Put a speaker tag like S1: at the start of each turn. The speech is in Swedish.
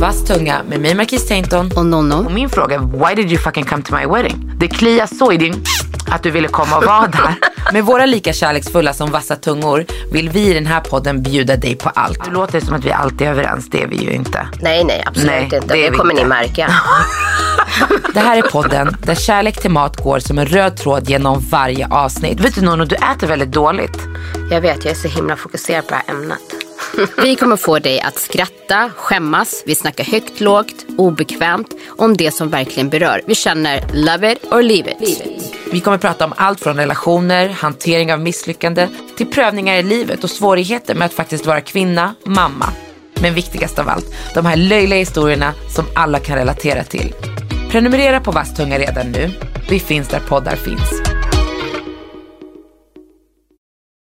S1: Vass tunga med mig Marquis Tainton.
S2: Och Nonno.
S1: Och min fråga är why did you fucking come to my wedding? Det kliar så i din att du ville komma och vara där. Med våra lika kärleksfulla som vassa tungor vill vi i den här podden bjuda dig på allt. Det låter som att vi alltid är överens, det är vi ju inte.
S2: Nej, nej, absolut
S1: Nej,
S2: inte.
S1: det är
S2: Det,
S1: vi
S2: kommer
S1: inte.
S2: ni märka.
S1: Det här är podden där kärlek till mat går som en röd tråd genom varje avsnitt. Vet du Nono, du äter väldigt dåligt.
S2: Jag vet, jag är så himla fokuserad på det här ämnet. Vi kommer få dig att skratta, skämmas, vi snackar högt, lågt, obekvämt om det som verkligen berör. Vi känner love it or leave it.
S1: Vi kommer prata om allt från relationer, hantering av misslyckande till prövningar i livet och svårigheter med att faktiskt vara kvinna, mamma. Men viktigast av allt, de här löjliga historierna som alla kan relatera till. Prenumerera på Vass tunga redan nu. Vi finns där poddar finns.